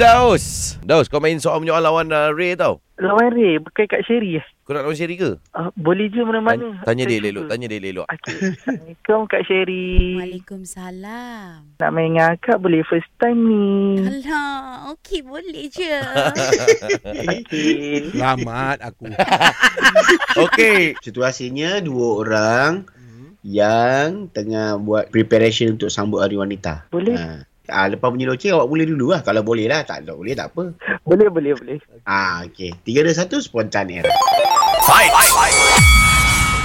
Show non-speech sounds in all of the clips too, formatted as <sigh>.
Firdaus Daus kau main soal menyoal lawan uh, Ray tau Lawan Ray Bukan kat Sherry eh Kau nak lawan Sherry ke? uh, Boleh je Tanya, mana-mana tanya Saya dia suka. elok Tanya dia elok <laughs> Okey Assalamualaikum Kak Sherry Waalaikumsalam. Nak main dengan akak Boleh first time ni Alah, okey boleh je. <laughs> Okey Selamat aku. Okay Situasinya dua orang yang tengah buat preparation untuk sambut hari wanita. Boleh. Ha. Ah, lepas bunyi loceng awak mula dulu lah. Kalau boleh lah. Tak, tak boleh tak apa. Boleh boleh boleh Ah, okey. Tiga, dua, satu, spontan era.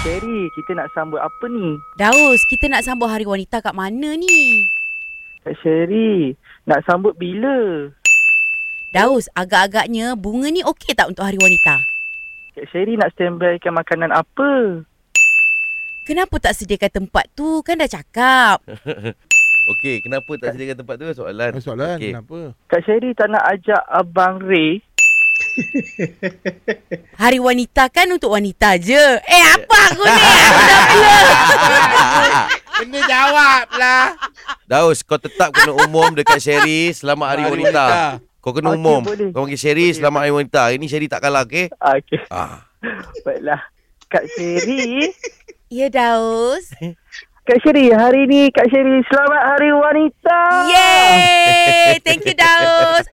Sherry Kita nak sambut apa ni Daus, kita nak sambut Hari Wanita kat mana ni? Kak Sherry Nak sambut bila Daus, agak-agaknya bunga ni okey tak untuk Hari Wanita? Kak Sherry nak standbykan makanan apa Kenapa tak sediakan tempat tu? Kan dah cakap. Okay kenapa tak sediakan tempat tu Eh, soalan Okey. Soalan okay. kenapa? Kak Sherry tak nak ajak Abang Ray Hari Wanita kan untuk wanita je. Eh, apa aku ni? Aku dah pula. Kena jawab lah. <laughs> Daus kau tetap kena umum dekat Sherry Selamat Hari Hari Wanita Kau kena Okey, umum boleh. Kau panggil Sherry Boleh. Selamat Hari Wanita Hari ni Sherry tak kalah okay? ah, Okey <laughs> Ah. Baiklah Kak Sherry Ya, Daus. Kak Sherry hari ni Kak Sherry Selamat Hari Wanita Yeay! Thank you, Daus.